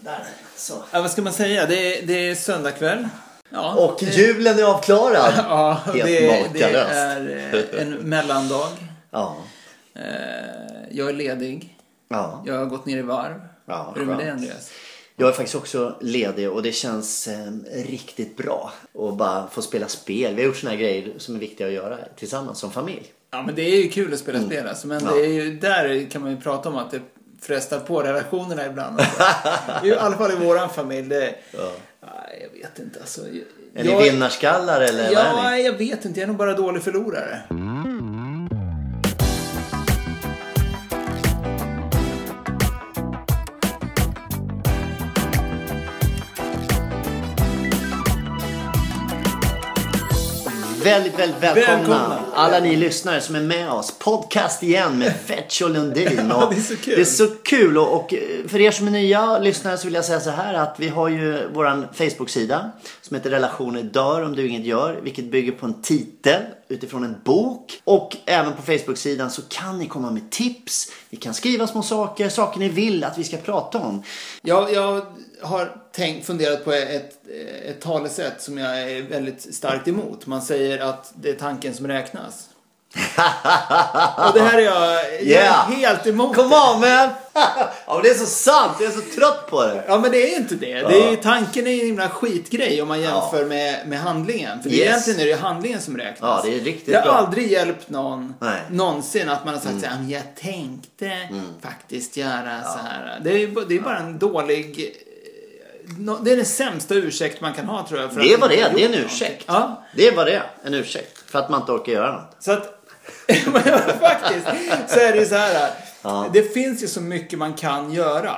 Där, så. Ja, vad ska man säga? Det är, det är söndag kväll. Ja, Och det, julen är avklarad. ja, Helt det, det makalöst. är eh, en mellandag. Ja. Eh, Jag är ledig. Ja. Jag har gått ner i varv. Ja, Hur är det med dig skönt. Andreas? Jag är faktiskt också ledig och det känns eh, riktigt bra att bara få spela spel. Vi har gjort såna här grejer som är viktiga att göra tillsammans som familj. Ja, men det är ju kul att spela spel alltså. Men Mm. Ja. det är ju, där kan man ju prata om att det frestar på relationerna ibland. Alltså. I alla fall i våran familj. Det, Ja. Nej, jag vet inte alltså. Är Jag- ni vinnarskallar eller vad är Ja, ni? jag vet inte. Jag är nog bara dålig förlorare. Väldigt, väldigt välkomna, Välkomna. alla ni lyssnare som är med oss. Podcast igen med Fetch och Lundin. Ja, Och det är så kul. Det är så kul och, och eh, för er som är nya lyssnare så vill jag säga så här att vi har ju våran Facebook-sida som heter Relationer dör om du inget gör. Vilket bygger på en titel utifrån en bok. Och även på Facebook-sidan så kan ni komma med tips. Ni kan skriva små saker, saker ni vill att vi ska prata om. Jag, jag har tänkt, funderat på ett, ett talesätt som jag är väldigt starkt emot. Man säger att det är tanken som räknas. Och det här är jag, jag Yeah. är helt emot. Come det. on man! ja, men det är så sant, jag är så trött på det. Ja men det är inte det. det är, ju- tanken är ju en himla skitgrej om man jämför med, med handlingen. För det är Yes. egentligen är det ju handlingen som räknas. Ja, det är riktigt Jag har bra. aldrig hjälpt någon Nej. Mm. någonsin att man har sagt så här, "Men jag tänkte faktiskt göra så här. Det är, ju ba- det är bara en dålig... eh, nå- Det är den sämsta ursäkt man kan ha tror jag. För Det att var man det, inte har det är gjort en någonting. ursäkt. Ja, Det var det, en ursäkt. För att man inte orkar göra något. så att... men faktiskt så är det ju så här. Det finns ju så mycket man kan göra.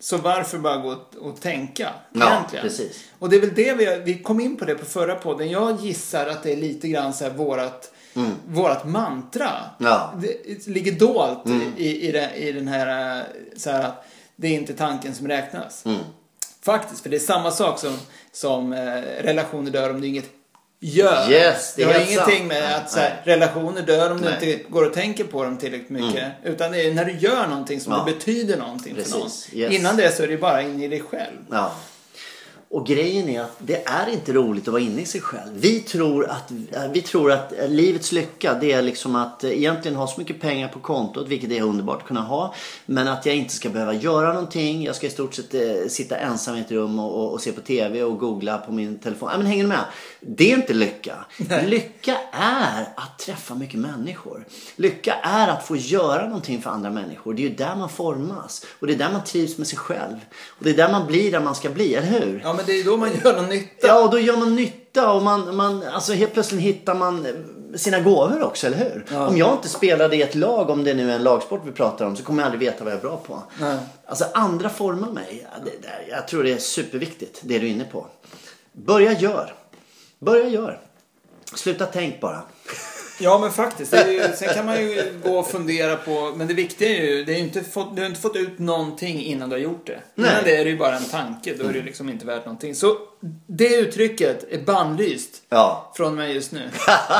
Så varför bara gå och, och tänka? Mm. Ja, egentligen? precis. Och det är väl det vi, vi kom in på det på förra podden. Jag gissar att det är lite grann så här vårat, vårat mantra. Mm. Ja. Mm. Det ligger dolt i, i, den, i den här eh, så här att det är inte tanken som räknas. Mm. Faktiskt, för det är samma sak som, som eh, relationer dör om du inget gör. Yes, det är har helt ingenting sant. med Nej, att så här, nej. relationer dör om du Nej. Mm. inte går och tänker på dem tillräckligt mycket. Utan det är när du gör någonting som Ja. det betyder någonting för någon. Precis, yes. Innan det så är det bara in i dig själv. Ja. Och grejen är att det är inte roligt att vara inne i sig själv. Vi tror att, eh, vi tror att livets lycka det är liksom att egentligen ha så mycket pengar på kontot, vilket är underbart att kunna ha. Men att jag inte ska behöva göra någonting. Jag ska i stort sett eh, sitta ensam i ett rum och, och, och se på TV och googla på min telefon. Ja, men hänger ni med? Det är inte lycka. Lycka är att träffa mycket människor. Lycka är att få göra någonting för andra människor. Det är ju där man formas. Och det är där man trivs med sig själv. Och det är där man blir där man ska bli, eller hur? Ja, men det är då man gör någon nytta. Ja, och då gör man nytta och man, man, alltså helt plötsligt hittar man eh, sina gåvor också, eller hur? Ja. Om jag inte spelade i ett lag, om det nu är en lagsport vi pratar om, så kommer jag aldrig veta vad jag är bra på. Nej. Alltså andra formar mig. Ja, det, det, jag tror det är superviktigt, det du är inne på. Börja gör. Börja gör. Sluta tänk bara. Ja, men faktiskt. Det är ju, sen kan man ju gå och fundera på... Men det viktiga är ju, det är ju inte fått, du har inte fått ut någonting innan du har gjort det. Nej. Mm. Innan det är det ju bara en tanke. Då är det ju liksom inte värt någonting. Så det uttrycket är bannlyst. Ja. Från mig just nu.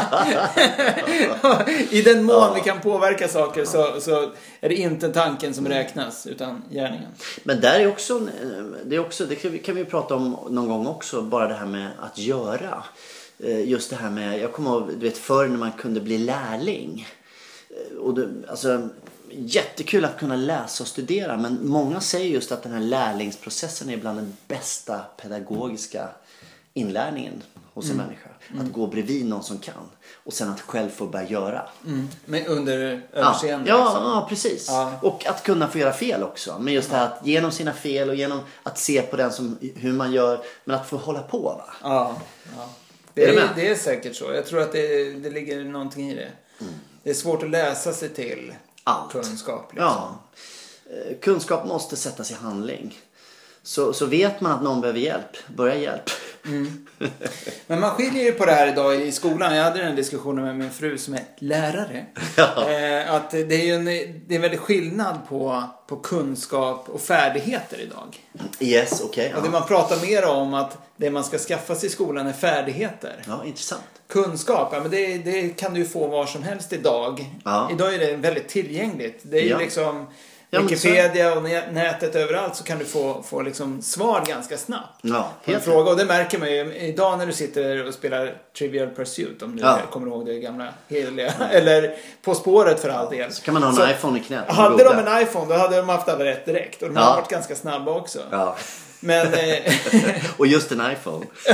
I den mån vi kan påverka saker så, så är det inte tanken Mm. som räknas utan gärningen. Men där är också, en- eh, det, är också, det kan vi- kan vi prata om någon gång också, bara det här med att göra. Eh, Just det här med, jag kommer ihåg, du vet förr när man kunde bli lärling. Eh, Och det, alltså, jättekul att kunna läsa och studera men många säger just att den här lärlingsprocessen är bland den bästa pedagogiska inlärningen hos en människa. Att gå bredvid någon som kan och sen att själv få börja göra. Men under Mm. Ja, överseende. ja, liksom. ja precis. Ja. Och att kunna få göra fel också. Men just det här att genom sina fel och genom att se på den som hur man gör. Men att få hålla på va? Ja, ja. Är Det, du är, med? det är säkert så. Jag tror att det, det ligger någonting i det. Det är svårt att läsa sig till Mm. Allt. kunskap. Liksom. Ja. Eh, Kunskap måste sättas i handling. Så, så vet man att någon behöver hjälp, börja hjälp. Men man skiljer ju på det här idag i skolan. Jag hade den här diskussionen med min fru som är lärare. Eh, att det är ju en, det är en väldig skillnad på, på kunskap och färdigheter idag. Yes, okej. Och det ja. man pratar mer om att det man ska skaffa sig i skolan är färdigheter. ja, intressant. Kunskap, ja, men det, det kan du ju få var som helst idag. Ja. Idag är det väldigt tillgängligt. Det är ju Ja. liksom Ja, men så- Wikipedia och nä- nätet överallt så kan du få, få liksom svar ganska snabbt. Ja, på en helt fråga. Och det märker man ju idag när du sitter och spelar Trivial Pursuit om du Ja. kommer ihåg det gamla heliga. Eller På spåret för all del. Så kan man ha en Så- iPhone i knät. och Hade de googla. en iPhone då hade de haft alla rätt direkt. Och de Ja. har varit ganska snabba också. Ja. Men... Eh, Och just en iPhone.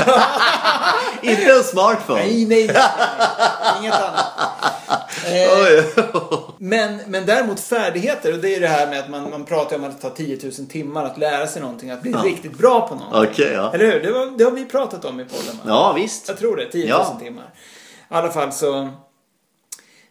Inte en smartphone. nej, nej, nej. Inget annat. Eh, Oj. Men, men däremot färdigheter, och det är ju det här med att man, man pratar ju om att det tar 10 000 timmar att lära sig någonting, att bli riktigt bra på någonting. Okej, ja. Eller hur? Det, var, det har vi pratat om i podden va? Ja, visst. Jag tror det, 10 000 Ja. timmar. I alla fall så...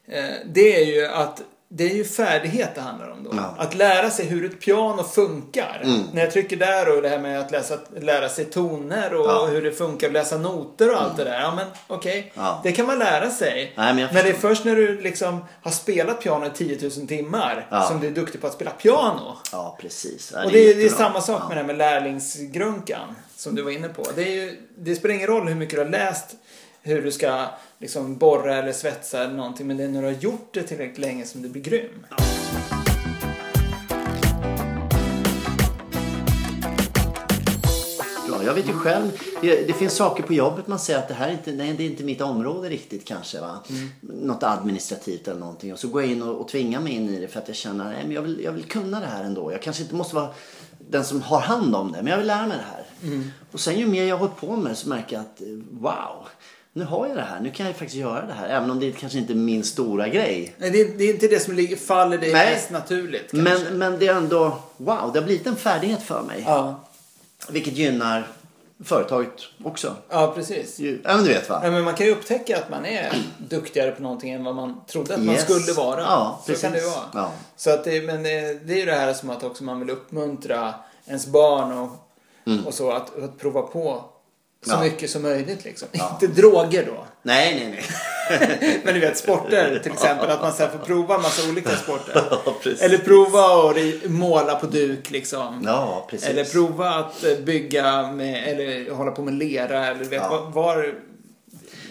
Eh, det är ju att det är ju färdighet det handlar om då. Ja. Mm. Att lära sig hur ett piano funkar. När jag trycker där och det här med att läsa, lära sig toner och Ja. Mm. hur det funkar att läsa noter och allt det där. Ja men okej, Ja. det kan man lära sig. Nej, men jag det är förstår. först när du liksom har spelat piano i 10 000 timmar Ja. som du är duktig på att spela piano. Ja, precis. Ja, Och det är, det är jättebra. samma sak med det här med lärlingsgrunkan som du var inne på. Det, är ju, det spelar ingen roll hur mycket du har läst hur du ska liksom borra eller svetsa eller någonting men det är när du har gjort det tillräckligt länge som du blir grym. Ja, jag vet ju själv, det, det finns saker på jobbet man säger att det här är inte, nej, det är inte mitt område riktigt kanske. Va? Mm. Något administrativt eller någonting. Och så går jag in och, och tvingar mig in i det för att jag känner nej, men jag, vill, jag vill kunna det här ändå. Jag kanske inte måste vara den som har hand om det, men jag vill lära mig det här. Mm. Och sen ju mer jag har hållit på med det så märker jag att eh, wow, nu har jag det här. Nu kan jag faktiskt göra det här. Även om det kanske inte är min stora grej. Nej, det, är, det är inte det som ligger, faller dig Nej. mest naturligt. kanske. Men, men det är ändå, wow, det har blivit en färdighet för mig. Ja, Vilket gynnar företaget också. ja precis. Ju- Ja, men du vet va? Ja, men man kan ju upptäcka att man är duktigare på någonting än vad man trodde att man Yes. skulle vara. Ja, så kan det ju precis. vara. Ja. Så att det, men det, det är ju det här som att också man vill uppmuntra ens barn och, och så att, att prova på så Mm. Ja. mycket som möjligt. Liksom. Inte droger då. Nej, nej, nej. Men du vet sporter till exempel. Att man så här får prova en massa olika sporter. Ja, precis. Eller prova att ri- måla på duk liksom. Ja, precis. Eller prova att eh, bygga med, eller hålla på med lera eller du vet, var, var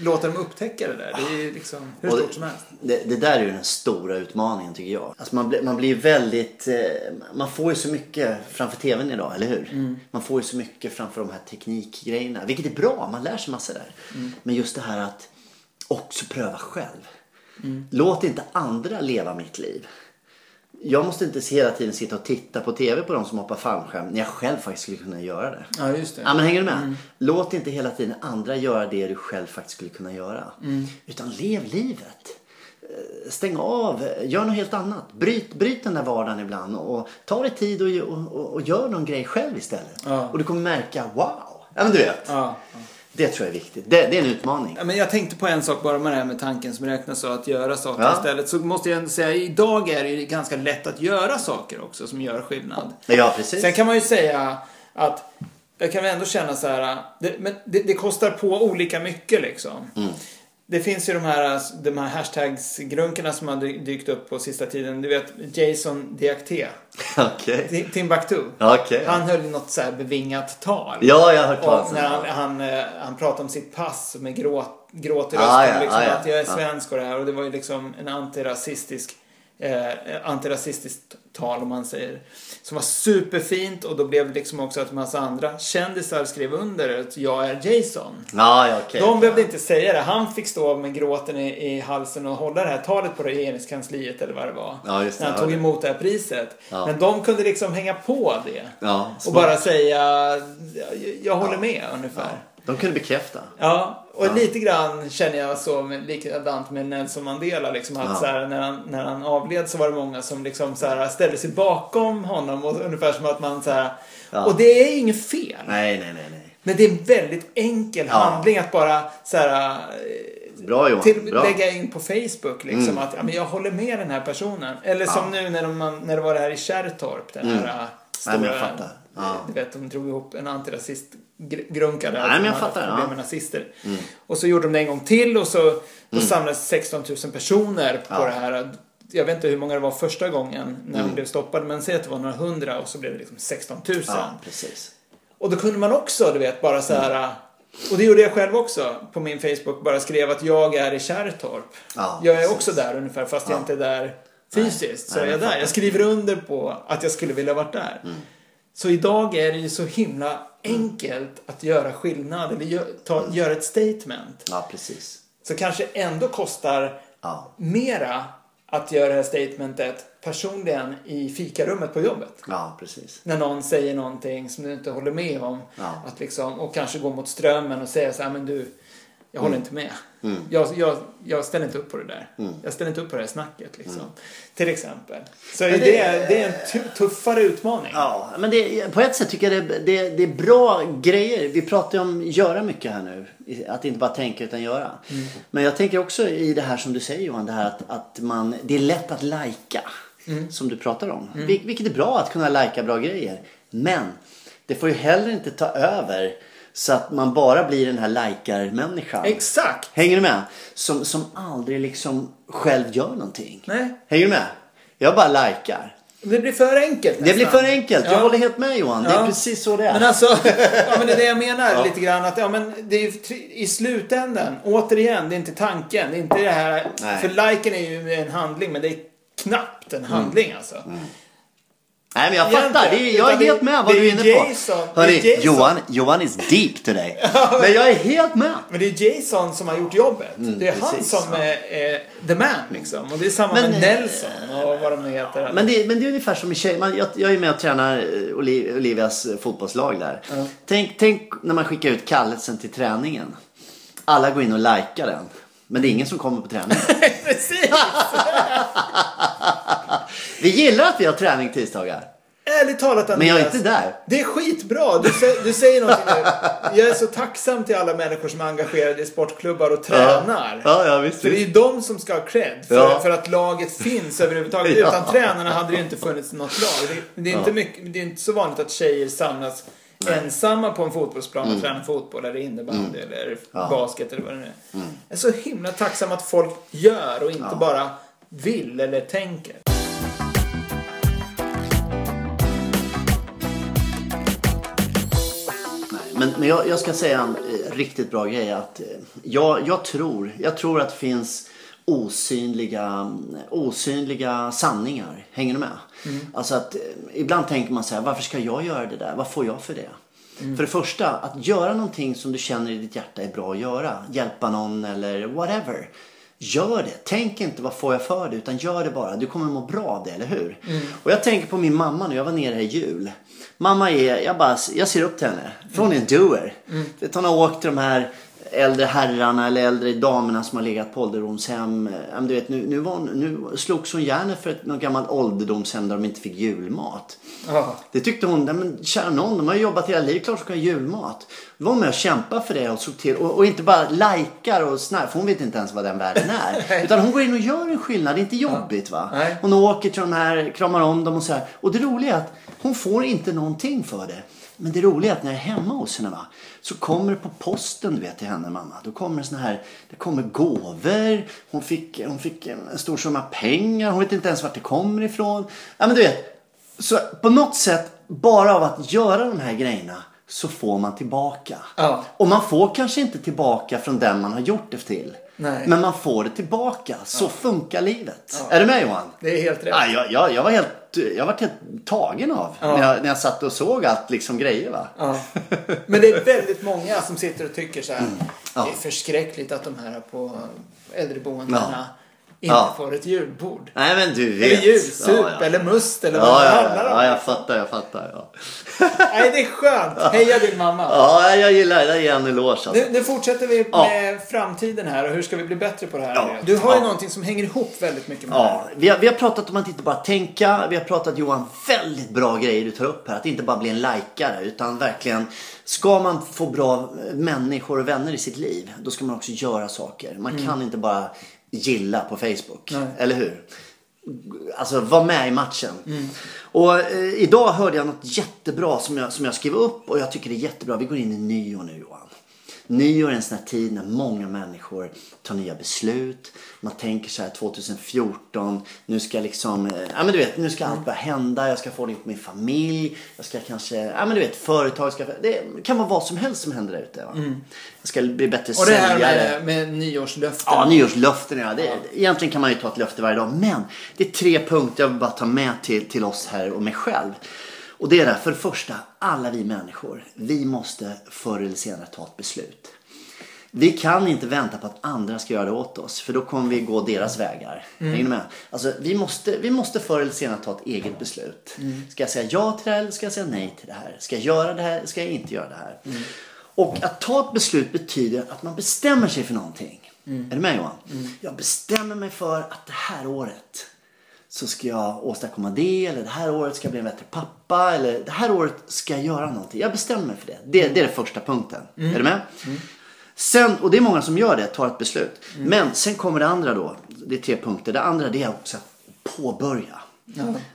låta dem upptäcka det där. Det är ju liksom hur Och stort som helst. Det, det där är ju den stora utmaningen tycker jag. Alltså man, blir- man blir ju väldigt... Eh, man får ju så mycket framför tvn idag, eller hur? Man får ju så mycket framför de här teknikgrejerna. Vilket är bra, man lär sig massa där. Men just det här att också pröva själv. Låt inte andra leva mitt liv. Jag måste inte hela tiden sitta och titta på tv på de som hoppar fallskärm när jag själv faktiskt skulle kunna göra det. Ja, just det. Ja, men hänger du med? Mm. Låt inte hela tiden andra göra det du själv faktiskt skulle kunna göra. Mm. Utan lev livet. Eh, Stäng av, eh, gör något helt annat. Bryt, bryt den där vardagen ibland och och ta dig tid och, och, och, och gör någon grej själv istället. Ja. Och du kommer märka, wow! Ja, men du vet. Ja. Det tror jag är viktigt. Det, det är en utmaning. Ja, men jag tänkte på en sak bara med det här med tanken som räknas och att göra saker Ja. istället. Så måste jag ändå säga, idag är det ju ganska lätt att göra saker också som gör skillnad. Ja, precis. Sen kan man ju säga att jag kan väl ändå känna så här, det, men det, det kostar på olika mycket liksom. Mm. Det finns ju de här, de här hashtags-grunkorna som har dy- dykt upp på sista tiden. Du vet Jason Diakité, Okej. Ti- Timbuktu. Okej. Han höll ju något så här bevingat tal. Ja, jag har hört talas Och om när han, det. han, eh, han pratade om sitt pass med gråt, gråt i rösten. Ah, ja, liksom, ah, ja, att jag är ja. svensk och det här. Och det var ju liksom en antirasistisk Eh, antirasistiskt tal om man säger. Som var superfint och då blev det liksom också att en massa andra kändisar skrev under att jag är Jason. Ja, ja, okej. De behövde inte säga det. Han fick stå med gråten i, i halsen och hålla det här talet på regeringskansliet eller vad det var. Ja, just det. när han Ja, tog det. emot det här priset. Ja. Men de kunde liksom hänga på det. Ja, och smart. bara säga jag, jag håller med Ja. ungefär. De kunde bekräfta. Ja, och lite grann känner jag så med, likadant med Nelson Mandela. Liksom, att Ja. så här, när, han, när han avled så var det många som liksom, så här, ställde sig bakom honom. Och, ungefär som att man så här, Ja. Och det är inget fel. Nej, nej, nej. nej. Men det är en väldigt enkel handling att bara så här, eh, Bra Johan. till, Bra. Mm. lägga in på Facebook liksom att ja, men jag håller med den här personen. Eller som nu när, de, man- när det var det här i Kärrtorp. Den här eh, stora, Mm. Nej, men jag fattar. Ja. Du vet, de drog ihop en antirasistgrunka Nej, där. men jag som hade fattar, problem ja. Mm. med nazister. Och så gjorde de det en gång till och så då samlades 16 000 personer på det här. Jag vet inte hur många det var första gången när Mm. de blev stoppade men säg att det var några hundra och så blev det liksom 16 000. Ja, precis. Och då kunde man också, du vet, bara så Mm. här. Och det gjorde jag själv också på min Facebook. Bara skrev att jag är i Kärrtorp. Ja, jag är precis. också där ungefär fast jag inte är där Fysiskt så Nej, är jag jag där. fattar. Mm. Jag skriver under på att jag skulle vilja varit där. Så idag är det ju så himla enkelt att göra skillnad eller gö- ta, Mm. göra ett statement. Ja, precis. Så kanske ändå kostar Ja. mera att göra det här statementet personligen i fikarummet på jobbet. Ja, precis. När någon säger någonting som du inte håller med om. Ja. Att liksom, och kanske gå mot strömmen och säga så här, men du, jag håller Mm. inte med. Jag, jag, jag ställer inte upp på det där. Jag ställer inte upp på det här snacket. Liksom. Till exempel. Så det, Mm. det- det, det är en tu- tuffare utmaning. Ja, men det, på ett sätt tycker jag det, det, det är bra grejer. Vi pratar ju om göra mycket här nu. Att inte bara tänka utan göra. Men jag tänker också i det här som du säger Johan, det här att, att man, det är lätt att lajka. Som du pratar om. Vil, vilket är bra att kunna lajka bra grejer. Men det får ju heller inte ta över så att man bara blir den här lajkarmänniskan. Exakt! Hänger du med? Som, som aldrig liksom själv gör någonting. Nej. Hänger du med? Jag bara likar. Det blir för enkelt Det blir nästan. för enkelt. Jag Ja. håller helt med Johan. Det är Ja. precis så det är. Men alltså, ja, men det är det jag menar lite grann. Att, ja, men det är ju tri- i slutändan, återigen, det är inte tanken. Det är inte det här. Nej. Mm. För liken är ju en handling, men det är knappt en handling alltså. Nej men jag Egentligen, fattar. Det är, jag är utan det- helt med vad det är du är inne Jason. på. Det är Hörni, Jason. Johan, Johan is deep today. Men jag är helt med. Men det är Jason som har gjort jobbet. det är han Mm, precis, som ja. är, är the man liksom. Och det är samma Men, med eh, Nelson och vad de nu heter. Men det, men det är ungefär som i tjej. Man, jag, jag är med och tränar eh, Oli- Olivias eh, fotbollslag där. Tänk, tänk när man skickar ut kallelsen till träningen. Alla går in och likar den. Men det är ingen som kommer på träningen. Precis! Vi gillar att vi har träning tisdagar. Ärligt talat Men jag är Andreas, inte där. Det är skitbra. Du, sä- du säger någonting nu. Jag är så tacksam till alla människor som är engagerade i sportklubbar och tränar. Ja, ja visst. Så det är ju de som ska ha cred för, Ja. för att laget finns överhuvudtaget. Ja. Utan tränarna hade det ju inte funnits något lag. Det, det, är, inte mycket, det är inte så vanligt att tjejer samlas ensamma på en fotbollsplan och Mm. tränar fotboll eller innebandy eller basket eller vad det nu är. Mm. Jag är så himla tacksam att folk gör och inte bara vill eller tänker. Men, men jag, jag ska säga en eh, riktigt bra grej. Att, eh, jag, jag, tror, jag tror att det finns osynliga, mm, osynliga sanningar. Hänger du med? Alltså att, eh, ibland tänker man så här, varför ska jag göra det där? Vad får jag för det? För det första, att göra någonting som du känner i ditt hjärta är bra att göra. Hjälpa någon eller whatever. Gör det. Tänk inte vad får jag för det utan gör det bara. Du kommer må bra av det, eller hur? Och jag tänker på min mamma nu. Jag var nere här i jul. Mamma är, jag bara, jag ser upp till henne. För hon är en doer. Vet, Hon har åkt de här äldre herrarna eller äldre damerna som har legat på ålderdomshem. Eh, ja, men Du vet, nu, nu, var hon, nu slogs hon gärna för ett, något gammalt ålderdomshem där de inte fick julmat. Ja. Det tyckte hon, nej men kära någon, de har ju jobbat hela livet, klart ska ha julmat. Då var hon med och kämpade för det och såg till och, och inte bara likar och snarkar, för hon vet inte ens vad den världen är. Utan hon går in och gör en skillnad, det är inte jobbigt va. Nej. Hon åker till de här, kramar om dem och så här. Och det roliga är att hon får inte någonting för det. Men det roliga är att när jag är hemma hos henne va, så kommer det på posten du vet till henne mamma. Då kommer det såna här, det kommer gåvor. Hon fick, hon fick en stor summa pengar. Hon vet inte ens vart det kommer ifrån. Ja men du vet, så på något sätt, bara av att göra de här grejerna så får man tillbaka. Ja. Och man får kanske inte tillbaka från den man har gjort det till. Nej. Men man får det tillbaka. Så funkar livet. Är du med Johan? Det är helt rätt. Ja, jag, jag, jag var helt, jag var helt tagen av Ja. när, jag, när jag satt och såg allt liksom grejer va. Ja. Men det är väldigt många som sitter och tycker så här. Mm. Det är förskräckligt att de här på äldreboendena inte Ja. får ett julbord. Nej men du vet. Eller julsup Ja, ja. eller must eller vad Ja, det ja, handlar ja, om. ja, jag fattar, jag fattar. Ja, Nej, det är skönt. Heja din mamma. ja jag gillar det. Jag ger en eloge alltså. Nu, nu fortsätter vi Ja. med framtiden här och hur ska vi bli bättre på det här? Ja. Du har ju Ja. någonting som hänger ihop väldigt mycket med det här. Ja, vi har, vi har pratat om att inte bara tänka. Vi har pratat Johan, väldigt bra grejer du tar upp här. Att inte bara bli en likare utan verkligen. Ska man få bra människor och vänner i sitt liv. Då ska man också göra saker. Man Mm. kan inte bara gilla på Facebook. Eller hur? Alltså var med i matchen. Mm. Och eh, idag hörde jag något jättebra som jag, som jag skrev upp och jag tycker det är jättebra. Vi går in i nyår nu Johan. nyår är en sån här tid när många människor tar nya beslut. Man tänker så här 2014, nu ska liksom, eh, ja men du vet, nu ska Mm. allt börja hända. Jag ska få ordning på min familj. Jag ska kanske, ja men du vet, företag ska, det kan vara vad som helst som händer där ute. Va? Jag ska bli bättre Mm. Och det här säljare. med, med nyårslöften. Ja, nyårslöften ja. Det, Egentligen kan man ju ta ett löfte varje dag. Men det är tre punkter jag vill bara ta med till, till oss här och mig själv. Och det är det här, för det första, alla vi människor, vi måste förr eller senare ta ett beslut. Vi kan inte vänta på att andra ska göra det åt oss för då kommer vi gå deras vägar. Hänger ni med? Alltså, vi, måste, vi måste förr eller senare ta ett eget beslut. Ska jag säga ja till det här eller ska jag säga nej till det här? Ska jag göra det här eller ska jag inte göra det här? Och att ta ett beslut betyder att man bestämmer sig för någonting. Är du med Johan? Jag bestämmer mig för att det här året så ska jag åstadkomma det eller det här året ska jag bli en bättre pappa eller det här året ska jag göra någonting. Jag bestämmer mig för det. Det, det är den första punkten. Är du med? Sen, och det är många som gör det, tar ett beslut. Men sen kommer det andra då. Det är tre punkter. Det andra det är också att påbörja.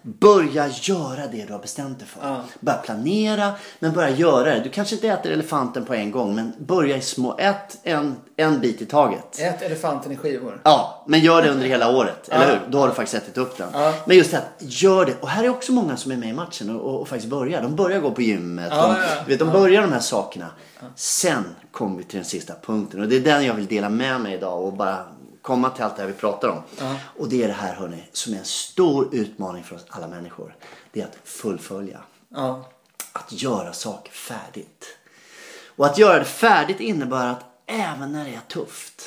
Börja göra det du har bestämt dig för. Ja. Börja planera, men börja göra det. Du kanske inte äter elefanten på en gång, men börja i små, ät en, en bit i taget. Ät elefanten i skivor. Ja, men gör det under hela året, eller hur? Då har du faktiskt ätit upp den. Ja. Men just det här, gör det. Och här är också många som är med i matchen och, och, och faktiskt börjar. De börjar gå på gymmet. Ja, de, ja, ja. Du vet, de börjar de här sakerna. Sen kommer vi till den sista punkten och det är den jag vill dela med mig idag och bara komma till allt det här vi pratar om. Ja. Och det är det här hörni, som är en stor utmaning för oss alla människor. Det är att fullfölja Ja. att göra saker färdigt. Och att göra det färdigt innebär att även när det är tufft,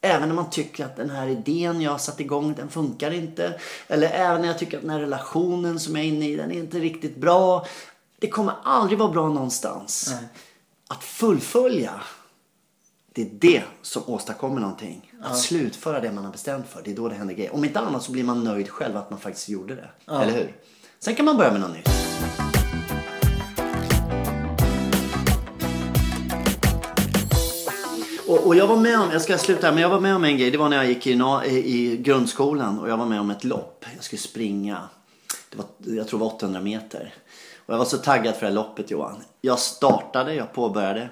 även när man tycker att den här idén jag har satt igång den funkar inte, eller även när jag tycker att den här relationen som jag är inne i den är inte riktigt bra. Det kommer aldrig vara bra någonstans. Att fullfölja, det är det som åstadkommer någonting. Att slutföra det man har bestämt för, det är då det händer grejer. Om inte annat så blir man nöjd själv att man faktiskt gjorde det. Eller hur? Sen kan man börja med något nytt. Och, och jag var med om, jag ska sluta här, men jag var med om en grej. Det var när jag gick i, na- i i grundskolan och jag var med om ett lopp. Jag skulle springa, det var, jag tror det var 800 meter. Och jag var så taggad för det här loppet Johan. Jag startade, jag påbörjade.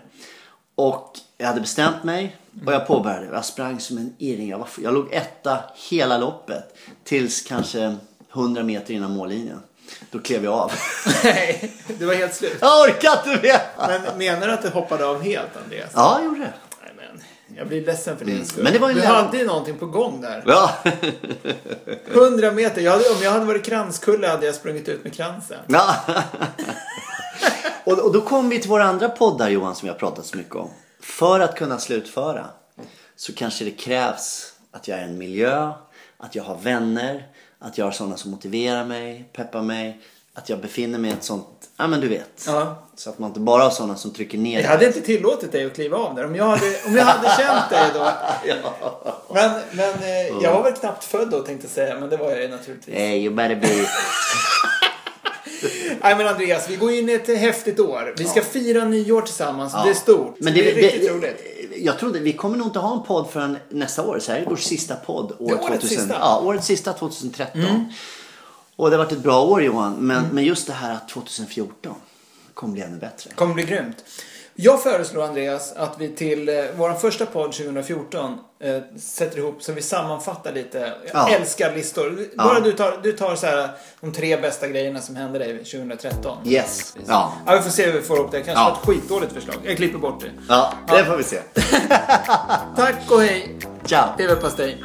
Och jag hade bestämt mig och jag påbörjade. Jag sprang som en irring. Jag, var, jag låg etta hela loppet. Tills kanske 100 meter innan mållinjen. Då klev jag av. Nej, det var helt slut. jag orkar inte mer! Men menar du att du hoppade av helt, Andreas? Ja, jag gjorde det. Nej, men jag blir ledsen för din skull. Men det var ju du lära- hade ju någonting på gång där. Ja. 100 meter. Jag hade, om jag hade varit kranskulle hade jag sprungit ut med kransen. Ja. och, och då kommer vi till våra andra poddar Johan som jag har pratat så mycket om. För att kunna slutföra så kanske det krävs att jag är i en miljö, att jag har vänner, att jag har sådana som motiverar mig, peppar mig, att jag befinner mig i ett sånt, ja men du vet. Ja. Så att man inte bara har sådana som trycker ner Jag hade inte tillåtit dig att kliva av där. Om jag hade, om jag hade känt dig då. Men, men eh, jag var väl knappt född då tänkte jag säga. Men det var jag ju naturligtvis. Hey, you better be. Nej men Andreas, vi går in i ett eh, häftigt år. Vi ska fira nyår tillsammans. Det är stort. Men det, är riktigt roligt. Jag trodde, vi kommer nog inte ha en podd förrän nästa år. Så här är vår sista podd. År Det är årets 2000, sista. Mm. Ja, årets sista 2013. Och det har varit ett bra år Johan. Men, men just det här att 2014 kommer bli ännu bättre. kommer bli grymt. Jag föreslår Andreas att vi till eh, vår första podd 2014 eh, sätter ihop så vi sammanfattar lite. Jag Ja. älskar listor. Bara du tar, du tar så här, de tre bästa grejerna som hände dig 2013. Yes. Ja. Ja, vi får se hur vi får ihop det. Kanske Ja. var ett skitdåligt förslag. Jag klipper bort det. Ja, det får vi se. Tack och hej! Ciao. Leverpastej!